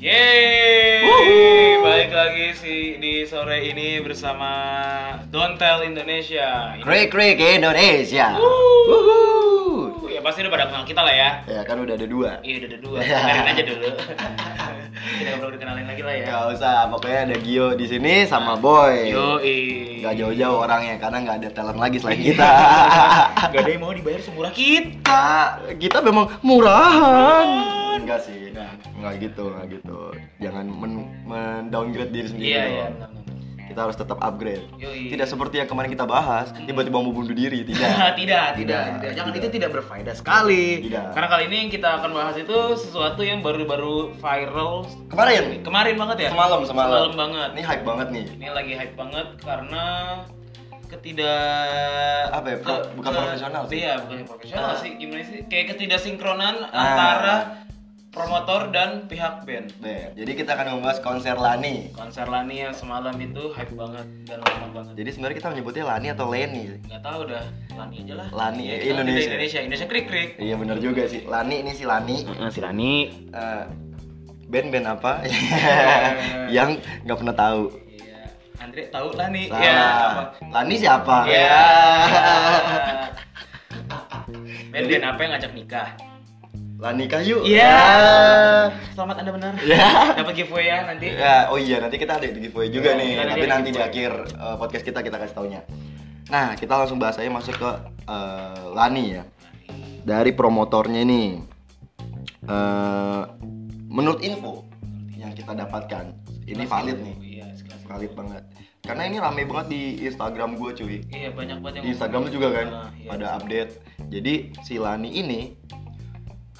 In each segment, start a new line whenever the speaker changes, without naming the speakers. Yeay, balik lagi sih di sore ini bersama Dontel Indonesia. Ini-
Krik krik Indonesia.
Wuhu. Ya pasti udah pada kenal kita lah ya.
Ya kan udah ada dua.
Iya udah ada dua, kenalin aja dulu. Kita nggak perlu dikenalin lagi lah ya.
Gak usah, pokoknya ada Gio di sini sama Boy.
Yo, eh.
Gak jauh-jauh orangnya karena nggak ada talent lagi selain kita.
Gak ada yang mau dibayar semurah kita.
kita kita memang murahan. Enggak sih. Enggak gitu, enggak gitu. Jangan men- men-downgrade diri sendiri
Iya
dong.
iya. benar, benar.
Kita harus tetap upgrade.
Yoi.
Tidak seperti yang kemarin kita bahas, tiba-tiba mau bunuh diri,
Tidak, tidak,
tidak.
tidak, tidak. Jangan itu tidak berfaedah sekali.
Tidak.
Karena kali ini yang kita akan bahas itu sesuatu yang baru-baru viral
Kemarin
kemarin banget ya.
semalam semalam.
Semalam banget.
Ini hype banget nih.
Ini lagi hype banget karena ketidak
Apa ya, pro- bukan profesional sih.
Iya, bukan profesional
Ah.
sih. Gimana sih? Kayak ketidaksinkronan
Ah.
antara promotor dan pihak band.
Nih, jadi kita akan membahas konser Lani.
Konser Lani yang semalam itu hype banget dan lama banget.
Jadi sebenarnya kita menyebutnya Lani atau Leni.
Nggak tahu dah, Lani aja lah.
Lani,
Iya,
eh,
kita
Indonesia.
Indonesia, Indonesia krik-krik.
Iya benar juga sih. Lani ini si Lani.
Si Lani
Eh, band-band apa yang nggak pernah tahu.
Iya, Andre tahu lah nih.
Salah.
Ya, apa?
Lani siapa?
Ya. Ben Ben apa yang ngajak nikah?
Lani Kayu.
Iya. Selamat Anda benar.
Ya.
Dapat giveaway ya nanti.
Ya, oh iya nanti kita ada di giveaway juga
Ya,
nih.
kita ada
Tapi
di
nanti di
giveaway.
akhir eh, podcast kita kita kasih taunya. Nah, kita langsung bahas aja masuk ke eh, Lani ya. Dari promotornya ini. eh menurut info yang kita dapatkan, ini valid nih.
Iya, sekelas.
Valid banget. Karena ini rame banget di Instagram gue cuy.
Iya, banyak banget yang
Di Instagram lu juga kan
Nah, iya.
pada update. Jadi si Lani ini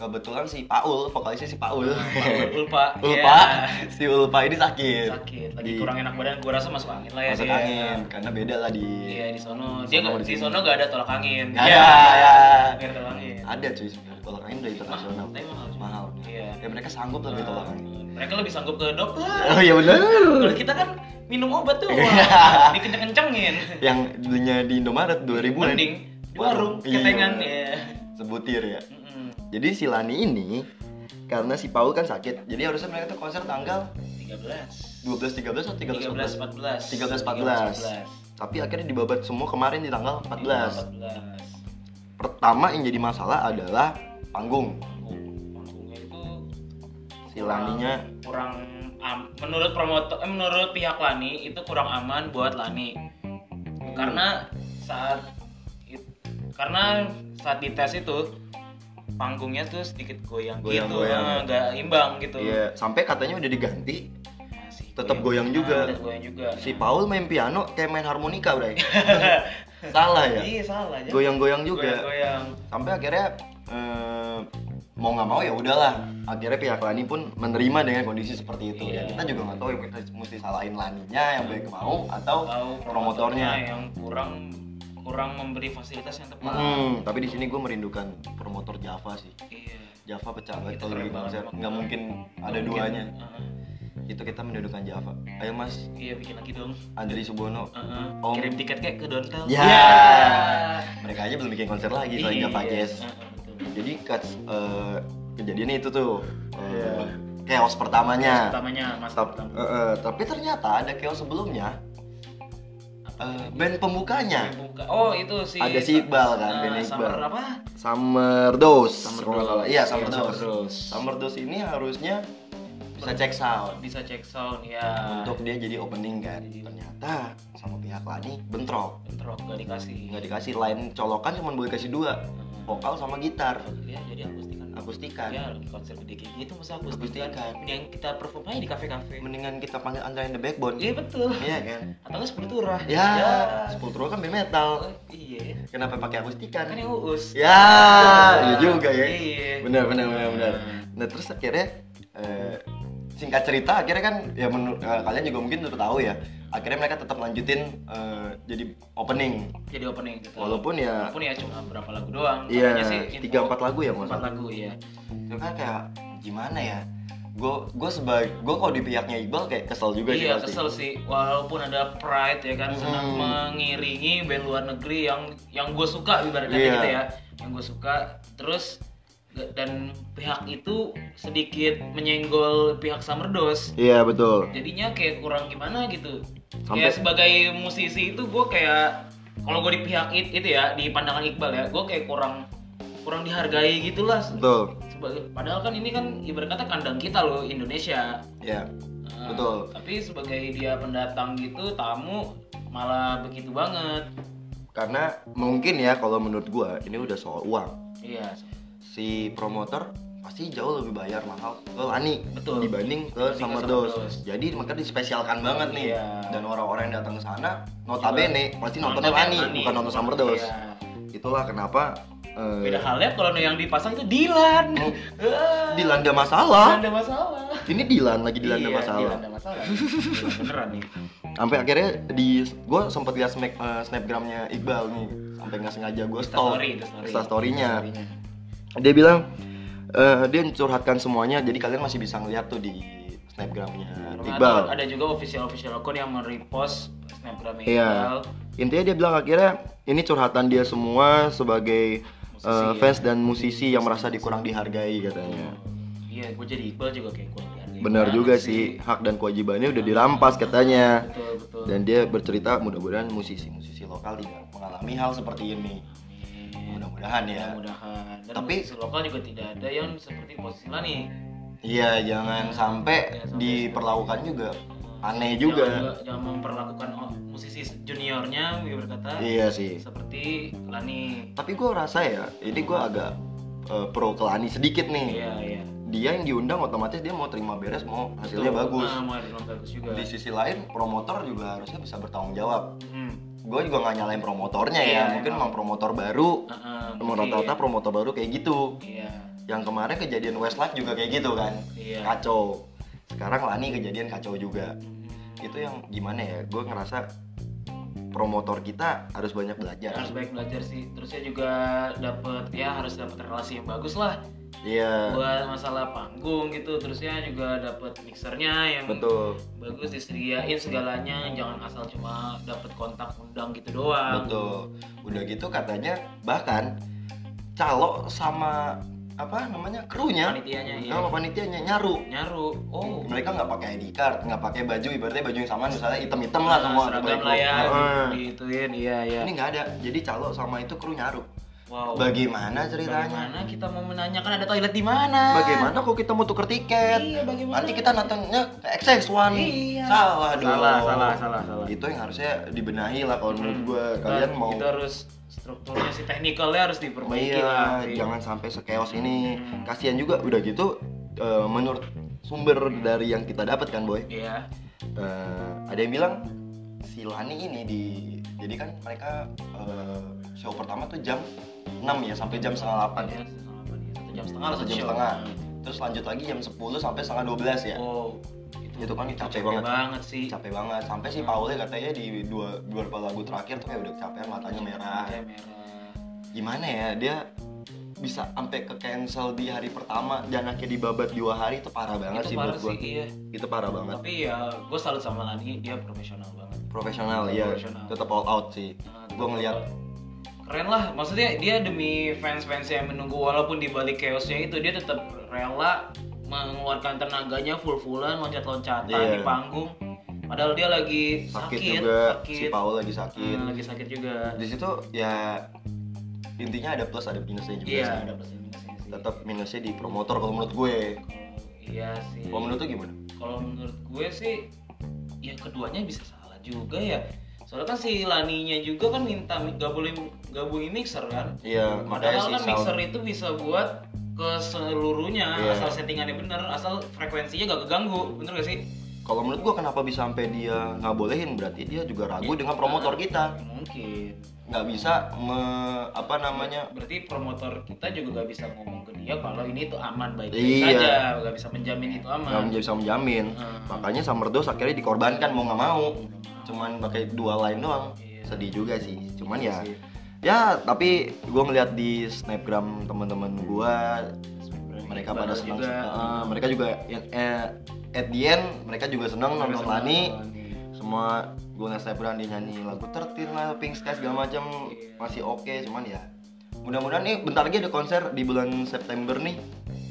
kebetulan si Paul, vokalisnya si Paul.
Pak Ulpa.
Ulpa,
Oh, Iya.
si Ulpa ini sakit.
Sakit, lagi
Iya. Di-
kurang enak badan. Gua rasa masuk angin lah ya
Masuk
dia.
angin karena beda lah di
Iya, di sono. Dia
Sono
nggak-
di
di
sini.
sono gak ada tolak angin. Iya.
Nggak ada, ya.
Nggak ada tolak angin.
ada cuy sebenarnya tolak angin udah
iya. Mahal,
internasional.
tapi mahal juga.
Mahal.
Iya.
Ya mereka sanggup tapi tolak angin.
Ah. Mereka lebih sanggup ke dokter.
Oh iya bener
Kalau kita kan minum obat tuh, wah, dikenceng-kencengin.
Yang dulunya di Indomaret 2000 an.
Mending di warung,
Iya.
ketengan ya.
Sebutir ya.
Mm-mm.
Jadi si Lani ini karena si Paul kan sakit, jadi harusnya mereka tuh konser tanggal
13.
12 13 atau 13 14?
13 14.
13 14. Tapi akhirnya dibabat semua kemarin di tanggal
Iya,
14.
14.
Pertama yang jadi masalah adalah panggung.
Panggung- Panggungnya itu
Si Laninya
kurang am- menurut promotor eh, menurut pihak Lani itu kurang aman buat Lani. Karena saat it- karena saat dites itu panggungnya tuh sedikit goyang, gitu,
Goyang-goyang ya.
eh, nggak imbang gitu.
Iya, sampai katanya udah diganti.
Masih
Tetap goyang
Ah,
juga.
tetap goyang juga.
Si Paul main piano kayak main harmonika, Bray. Salah ya?
Iya salah aja.
Goyang-goyang juga.
Goyang.
Sampai akhirnya eh, mau nggak mau ya udahlah. Akhirnya pihak Lani pun menerima dengan kondisi seperti itu.
Iya.
Dan kita juga nggak tahu yang kita mesti salahin Laninya yang baik mau atau
Atau
promotornya.
yang kurang kurang memberi fasilitas yang tepat.
Hmm, tapi di sini gue merindukan promotor Java sih.
Iya.
Java pecah banget
Itu
kalau
keren
di
banget
konser.
emang.
Nggak mungkin ada
Mungkin,
duanya.
uh-uh.
Itu kita mendudukan Java. Ayo Mas,
Iya bikin lagi dong.
Andri Subono.
Uh-uh.
Om.
Kirim tiket kayak ke Dontel. Iya.
Ya. Mereka aja belum bikin konser lagi selain Java Jazz.
Uh-uh,
Jadi kats, eh, kejadiannya itu tuh
Iya.
eh, chaos pertamanya.
Pertamanya Mas
Tap-
pertama.
eh, eh, tapi ternyata ada chaos sebelumnya. Eh, band pembukanya
Buka. Oh itu si
Ada si Iqbal kan,
Ah,
bandnya
Summer
Iqbal.
apa?
Summer Dose.
Summer
kalau nggak
Dose.
salah. Iya,
Iya,
Summer
Summer
Dose.
Dose.
Summer Dose ini harusnya bisa cek sound
Bisa cek sound ya.
untuk dia jadi opening kan. Ternyata sama pihak Lani bentrok.
bentrok gak dikasih.
Nggak dikasih line colokan cuma boleh kasih dua, vokal sama gitar.
Ya, jadi akustikan.
Akustikan.
Ya, lagi konser gede kayak gitu masa akustikan.
Akustikan.
Yang kita perform aja di kafe-kafe.
Mendingan kita panggil Andra and the Backbone.
Iya betul.
Iya kan?
Atau nggak sepuluh turah.
Ya, Sepultura kan band metal.
Oh, iya.
Kenapa pakai akustikan?
Kan yang uus.
Ya, iya juga ya.
Iya.
Benar, benar, benar, benar. Nah, terus akhirnya eh, singkat cerita akhirnya kan ya menurut eh, kalian juga mungkin udah tahu ya. Akhirnya mereka tetap lanjutin eh, jadi opening.
Jadi opening gitu.
Walaupun ya
Walaupun ya cuma berapa lagu doang.
iya
Katanya sih info-
tiga empat lagu ya
empat iya.
maksudnya.
lagu ya.
Itu kan kayak gimana ya? gue gue sebagai gue kalau di pihaknya Iqbal kayak kesel juga sih
iya
pasti.
kesel sih walaupun ada pride ya kan senang
Hmm.
mengiringi band luar negeri yang yang gue suka ibaratnya
Iya.
gitu ya yang gue suka terus g- dan pihak itu sedikit menyenggol pihak Summerdos
Iya betul.
jadinya kayak kurang gimana gitu
Sampai-
kayak sebagai musisi itu gue kayak kalau gue di pihak it- itu ya di pandangan Iqbal ya gue kayak kurang kurang dihargai gitulah
Betul.
sebagai padahal kan ini kan ibarat kata kandang kita loh Indonesia
Iya.
Eh,
Betul.
Tapi sebagai dia pendatang gitu, tamu malah begitu banget.
Karena mungkin ya kalau menurut gue ini udah soal uang.
Iya,
si promotor pasti jauh lebih bayar mahal ke Lani
Betul.
dibanding ke
Dibanding ke
Summerdos.
Summerdos.
Jadi makanya dispesialkan banget nih.
Iya.
Dan orang-orang yang datang ke sana notabene pasti
Nontonnya
nontonnya Lani,
Lani,
bukan nonton
bukan-
Summerdos.
iya.
Itulah kenapa eh,
beda halnya kalau yang dipasang itu Dilan.
Hmm.
Eh,
dilanda masalah.
Dilanda masalah.
Ini Dilan lagi dilanda
Iya,
masalah.
Dilanda masalah. Dilan beneran nih.
Sampai akhirnya di gue sempat lihat snap, eh, snapgramnya Iqbal nih. Sampai nggak sengaja gue stalk
Instastory, Instastory.
instastorynya.
Story-nya.
dia bilang eh, dia curhatkan semuanya jadi kalian masih bisa ngeliat tuh di snapgramnya
Karena
Iqbal
Ada juga official official akun yang merepost snapgramnya Iqbal.
iya intinya dia bilang akhirnya ini curhatan dia semua sebagai eh,
Musisi, ya.
fans dan musisi yang merasa dikurang dihargai katanya
Iya, gue jadi Iqbal juga kayak kurang dihargai
benar
banget
juga
iya.
sih hak dan kewajibannya udah dirampas katanya
Betul, betul.
dan dia bercerita mudah-mudahan musisi-musisi lokal tidak mengalami hal seperti ini mudah-mudahan ya
mudah-mudahan dan
Tapi-
musisi lokal juga tidak ada yang seperti posisi Lani
iya jangan sampai
Jangan sampai
diperlakukan juga aneh Iya juga
jangan, jangan memperlakukan o- musisi juniornya gue berkata
Iya sih.
seperti Lani
Tapi gue rasa ya, ini gue agak eh, pro ke Lani sedikit nih.
iya iya
Dia yang diundang otomatis dia mau terima beres, mau hasilnya
Betul.
bagus.
Ah, mau ada yang bagus juga
Di sisi lain, promotor juga harusnya bisa bertanggung jawab.
Hmm.
Gue juga nggak nyalain promotornya
Iya,
ya, mungkin
emang.
emang promotor baru.
Ah, ah,
Emang
mungkin.
rata-rata promotor baru kayak gitu.
iya
Yang kemarin kejadian Westlife juga kayak gitu kan,
Iya.
kacau. Sekarang Lani kejadian kacau juga.
Hmm.
Itu yang gimana ya? Gue ngerasa promotor kita harus banyak belajar.
harus baik belajar sih terusnya juga dapat ya harus dapat relasi yang bagus lah
Iya,
buat masalah panggung gitu terusnya juga dapat mixernya yang
betul.
bagus disediain segalanya jangan asal cuma dapat kontak undang gitu doang
Betul. Udah gitu katanya bahkan calo sama apa namanya krunya
panitianya iya.
sama panitianya nyaru.
nyaru oh
Mereka nggak pakai ID card, nggak pakai baju, ibaratnya baju yang sama misalnya hitam-hitam lah
Nah,
semua
seragam
baju.
lah ya
Heeh.
gituin iya iya
Ini nggak ada. Jadi calo sama itu kru nyaru.
wow
Bagaimana
Oh.
ceritanya?
bagaimana kita mau menanyakan ada toilet di mana
Bagaimana kok kita mau tuker tiket?
iya bagaimana
Nanti kita nontonnya ke XS One.
Iya.
Salah dong.
salah salah salah salah
Itu yang harusnya dibenahi lah kalau Gitu, menurut
Hmm.
gua.
Kita-
Kalian mau
kita harus strukturnya sih teknikalnya harus diperbaiki
iya,
lah
jangan sampai sekeos ini.
Hmm.
Kasihan juga udah gitu eh, menurut sumber dari yang kita dapat kan, Boy.
iya
Eh, ada yang bilang si Lani ini di jadi kan mereka eh, show pertama tuh jam 6 ya sampai jam setengah 8 ya.
Iya, satu jam setengah lah
Satu
satu
jam
show.
setengah. Terus lanjut lagi jam 10 sampai setengah 12 ya.
wow
Itu kan capek banget.
banget. banget sih
Capek banget. Sampai si Paulnya katanya di dua beberapa lagu terakhir tuh kayak udah kecapean matanya merah.
Iya, merah
gimana ya dia bisa sampai ke cancel di hari pertama dan akhirnya dibabat dua hari itu parah banget
itu
sih
parah
buat gue
sih iya
itu parah banget
tapi ya gue salut sama Lani dia profesional banget
profesional ya
Profesional.
tetap all out sih
Nah,
gue ngeliat
keren lah maksudnya dia demi fans-fans yang menunggu walaupun di balik chaosnya itu dia tetap rela mengeluarkan tenaganya full-fullan loncat-loncatan
Iya.
di panggung padahal dia lagi
sakit,
sakit
juga si
sakit.
Paul lagi sakit
Hmm, lagi sakit juga
di situ ya intinya ada plus ada minusnya juga
iya
sih
ada plus and minusnya sih.
tetap minusnya di promotor kalau menurut gue
Kalau- iya sih
kalau menurut tuh gimana
kalau menurut gue sih ya keduanya bisa salah juga ya soalnya kan si Laninya juga kan minta mi- nggak boleh gabungin mixer kan
iya
padahal
makanya sih
kan mixer itu bisa buat ke seluruhnya
Iya.
asal settingannya bener asal frekuensinya gak keganggu bener gak sih
kalau menurut gue kenapa bisa sampai dia nggak bolehin berarti dia juga ragu
Iya.
dengan promotor kita
mungkin
nggak bisa me- apa namanya
Ya, berarti promotor kita juga gak bisa ngomong ke dia kalau ini tuh aman baik baik
Iya.
saja gak bisa menjamin itu
nggak
aman
menjadi bisa menjamin
Hmm.
makanya Summerdos akhirnya dikorbankan mau nggak mau cuman pakai dua line doang
Iya.
sedih juga sih cuman
Iya
ya
sih.
ya tapi gue ngeliat di snapgram teman-teman gue mereka
Baru
pada senang
juga.
eh, mereka juga ya- eh, at the end mereka juga senang nonton
Sama
Lani
Lani.
semua Guna Saburan dinyanyi lagu tertin lah Pink Sky segala macam masih oke cuman ya mudah-mudahan nih bentar lagi ada konser di bulan September nih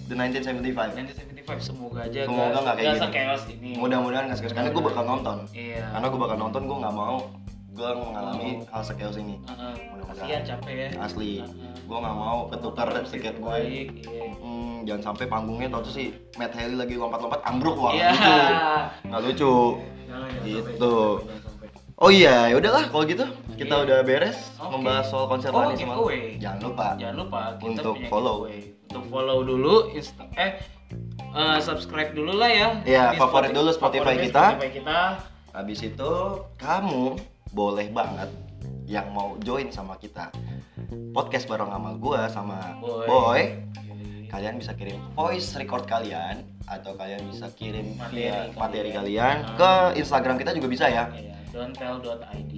The 1975
nanti 75 semoga aja
Semoga nggak kayak gini.
sekeos ini
mudah-mudahan nggak sekeos, karena gue bakal nonton
iya
karena gue bakal nonton gue nggak mau gue mengalami
Oh.
hal sekeos ini
Heeh,
Mudah-mudahan.
kasihan capek ya
asli
Heeh.
gue nggak mau ketukar tiket gue
Baik, iya.
Hmm, jangan sampai panggungnya tau tuh sih Matt Haley lagi lompat-lompat ambruk wah
Iya.
lucu nggak lucu
Jangan, jangan sampai,
Gitu.
jangan sampai, jangan sampai.
oh iya udahlah kalau gitu kita
Iya.
udah beres
Oke.
membahas soal konser
Oh,
Lani semalam.
giveaway. Ya.
jangan lupa
jangan lupa kita
Untuk
punya
follow.
giveaway. untuk follow dulu insta eh eh, subscribe dulu lah ya
Iya,
Di
favorit
Spotify-
dulu Spotify
favorit
kita.
Spotify kita
habis itu kamu boleh banget yang mau join sama kita podcast bareng sama gue sama
Boy.
boy kalian bisa kirim voice record kalian atau kalian bisa kirim
Materi
ya,
kalian. Ah.
materi kalian ke Instagram kita juga bisa ya
Iya, don'ttell.id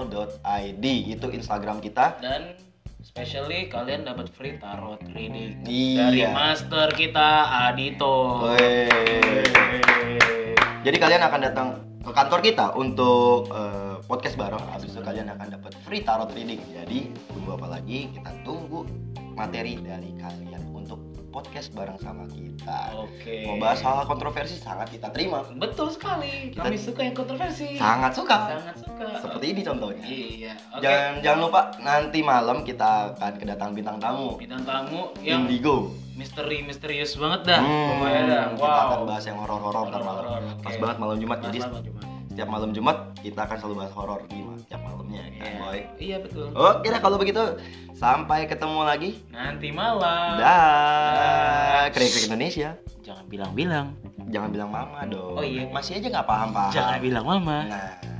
don'ttell.id itu Instagram kita
dan especially kalian dapat free tarot reading
Iya.
dari master kita Adito.
Wey. Jadi kalian akan datang ke kantor kita untuk eh, podcast bareng. Habis itu kalian akan dapat free tarot reading. Jadi tunggu apa lagi? Kita tunggu materi dari kalian untuk podcast bareng sama kita.
Oke.
Mau bahas hal kontroversi sangat kita terima.
Betul sekali. Kami suka yang kontroversi.
Sangat suka.
Sangat suka.
Seperti ini contohnya.
Iya. Oke.
Jangan jangan lupa nanti malam kita akan kedatangan bintang tamu
Bintang tamu yang
Indigo.
misteri misterius banget dah.
Hmm,
Pokoknya dah.
Kita
Wow.
akan bahas yang horor-horor ntar malam.
Horor-horor,
Pas
oke.
banget malam Jumat.
Bahas
Jadi
malam Jumat.
setiap malam Jumat kita akan selalu bahas horor di tiap malamnya ya kan,
Iya.
boy. Oh.
Iya betul.
Oke dah kalau begitu sampai ketemu lagi.
Nanti malam.
Dah. Krik Krik Indonesia.
Jangan bilang-bilang.
Jangan bilang mama dong.
Oh iya.
Masih aja nggak paham paham.
Jangan bilang mama.
Nah.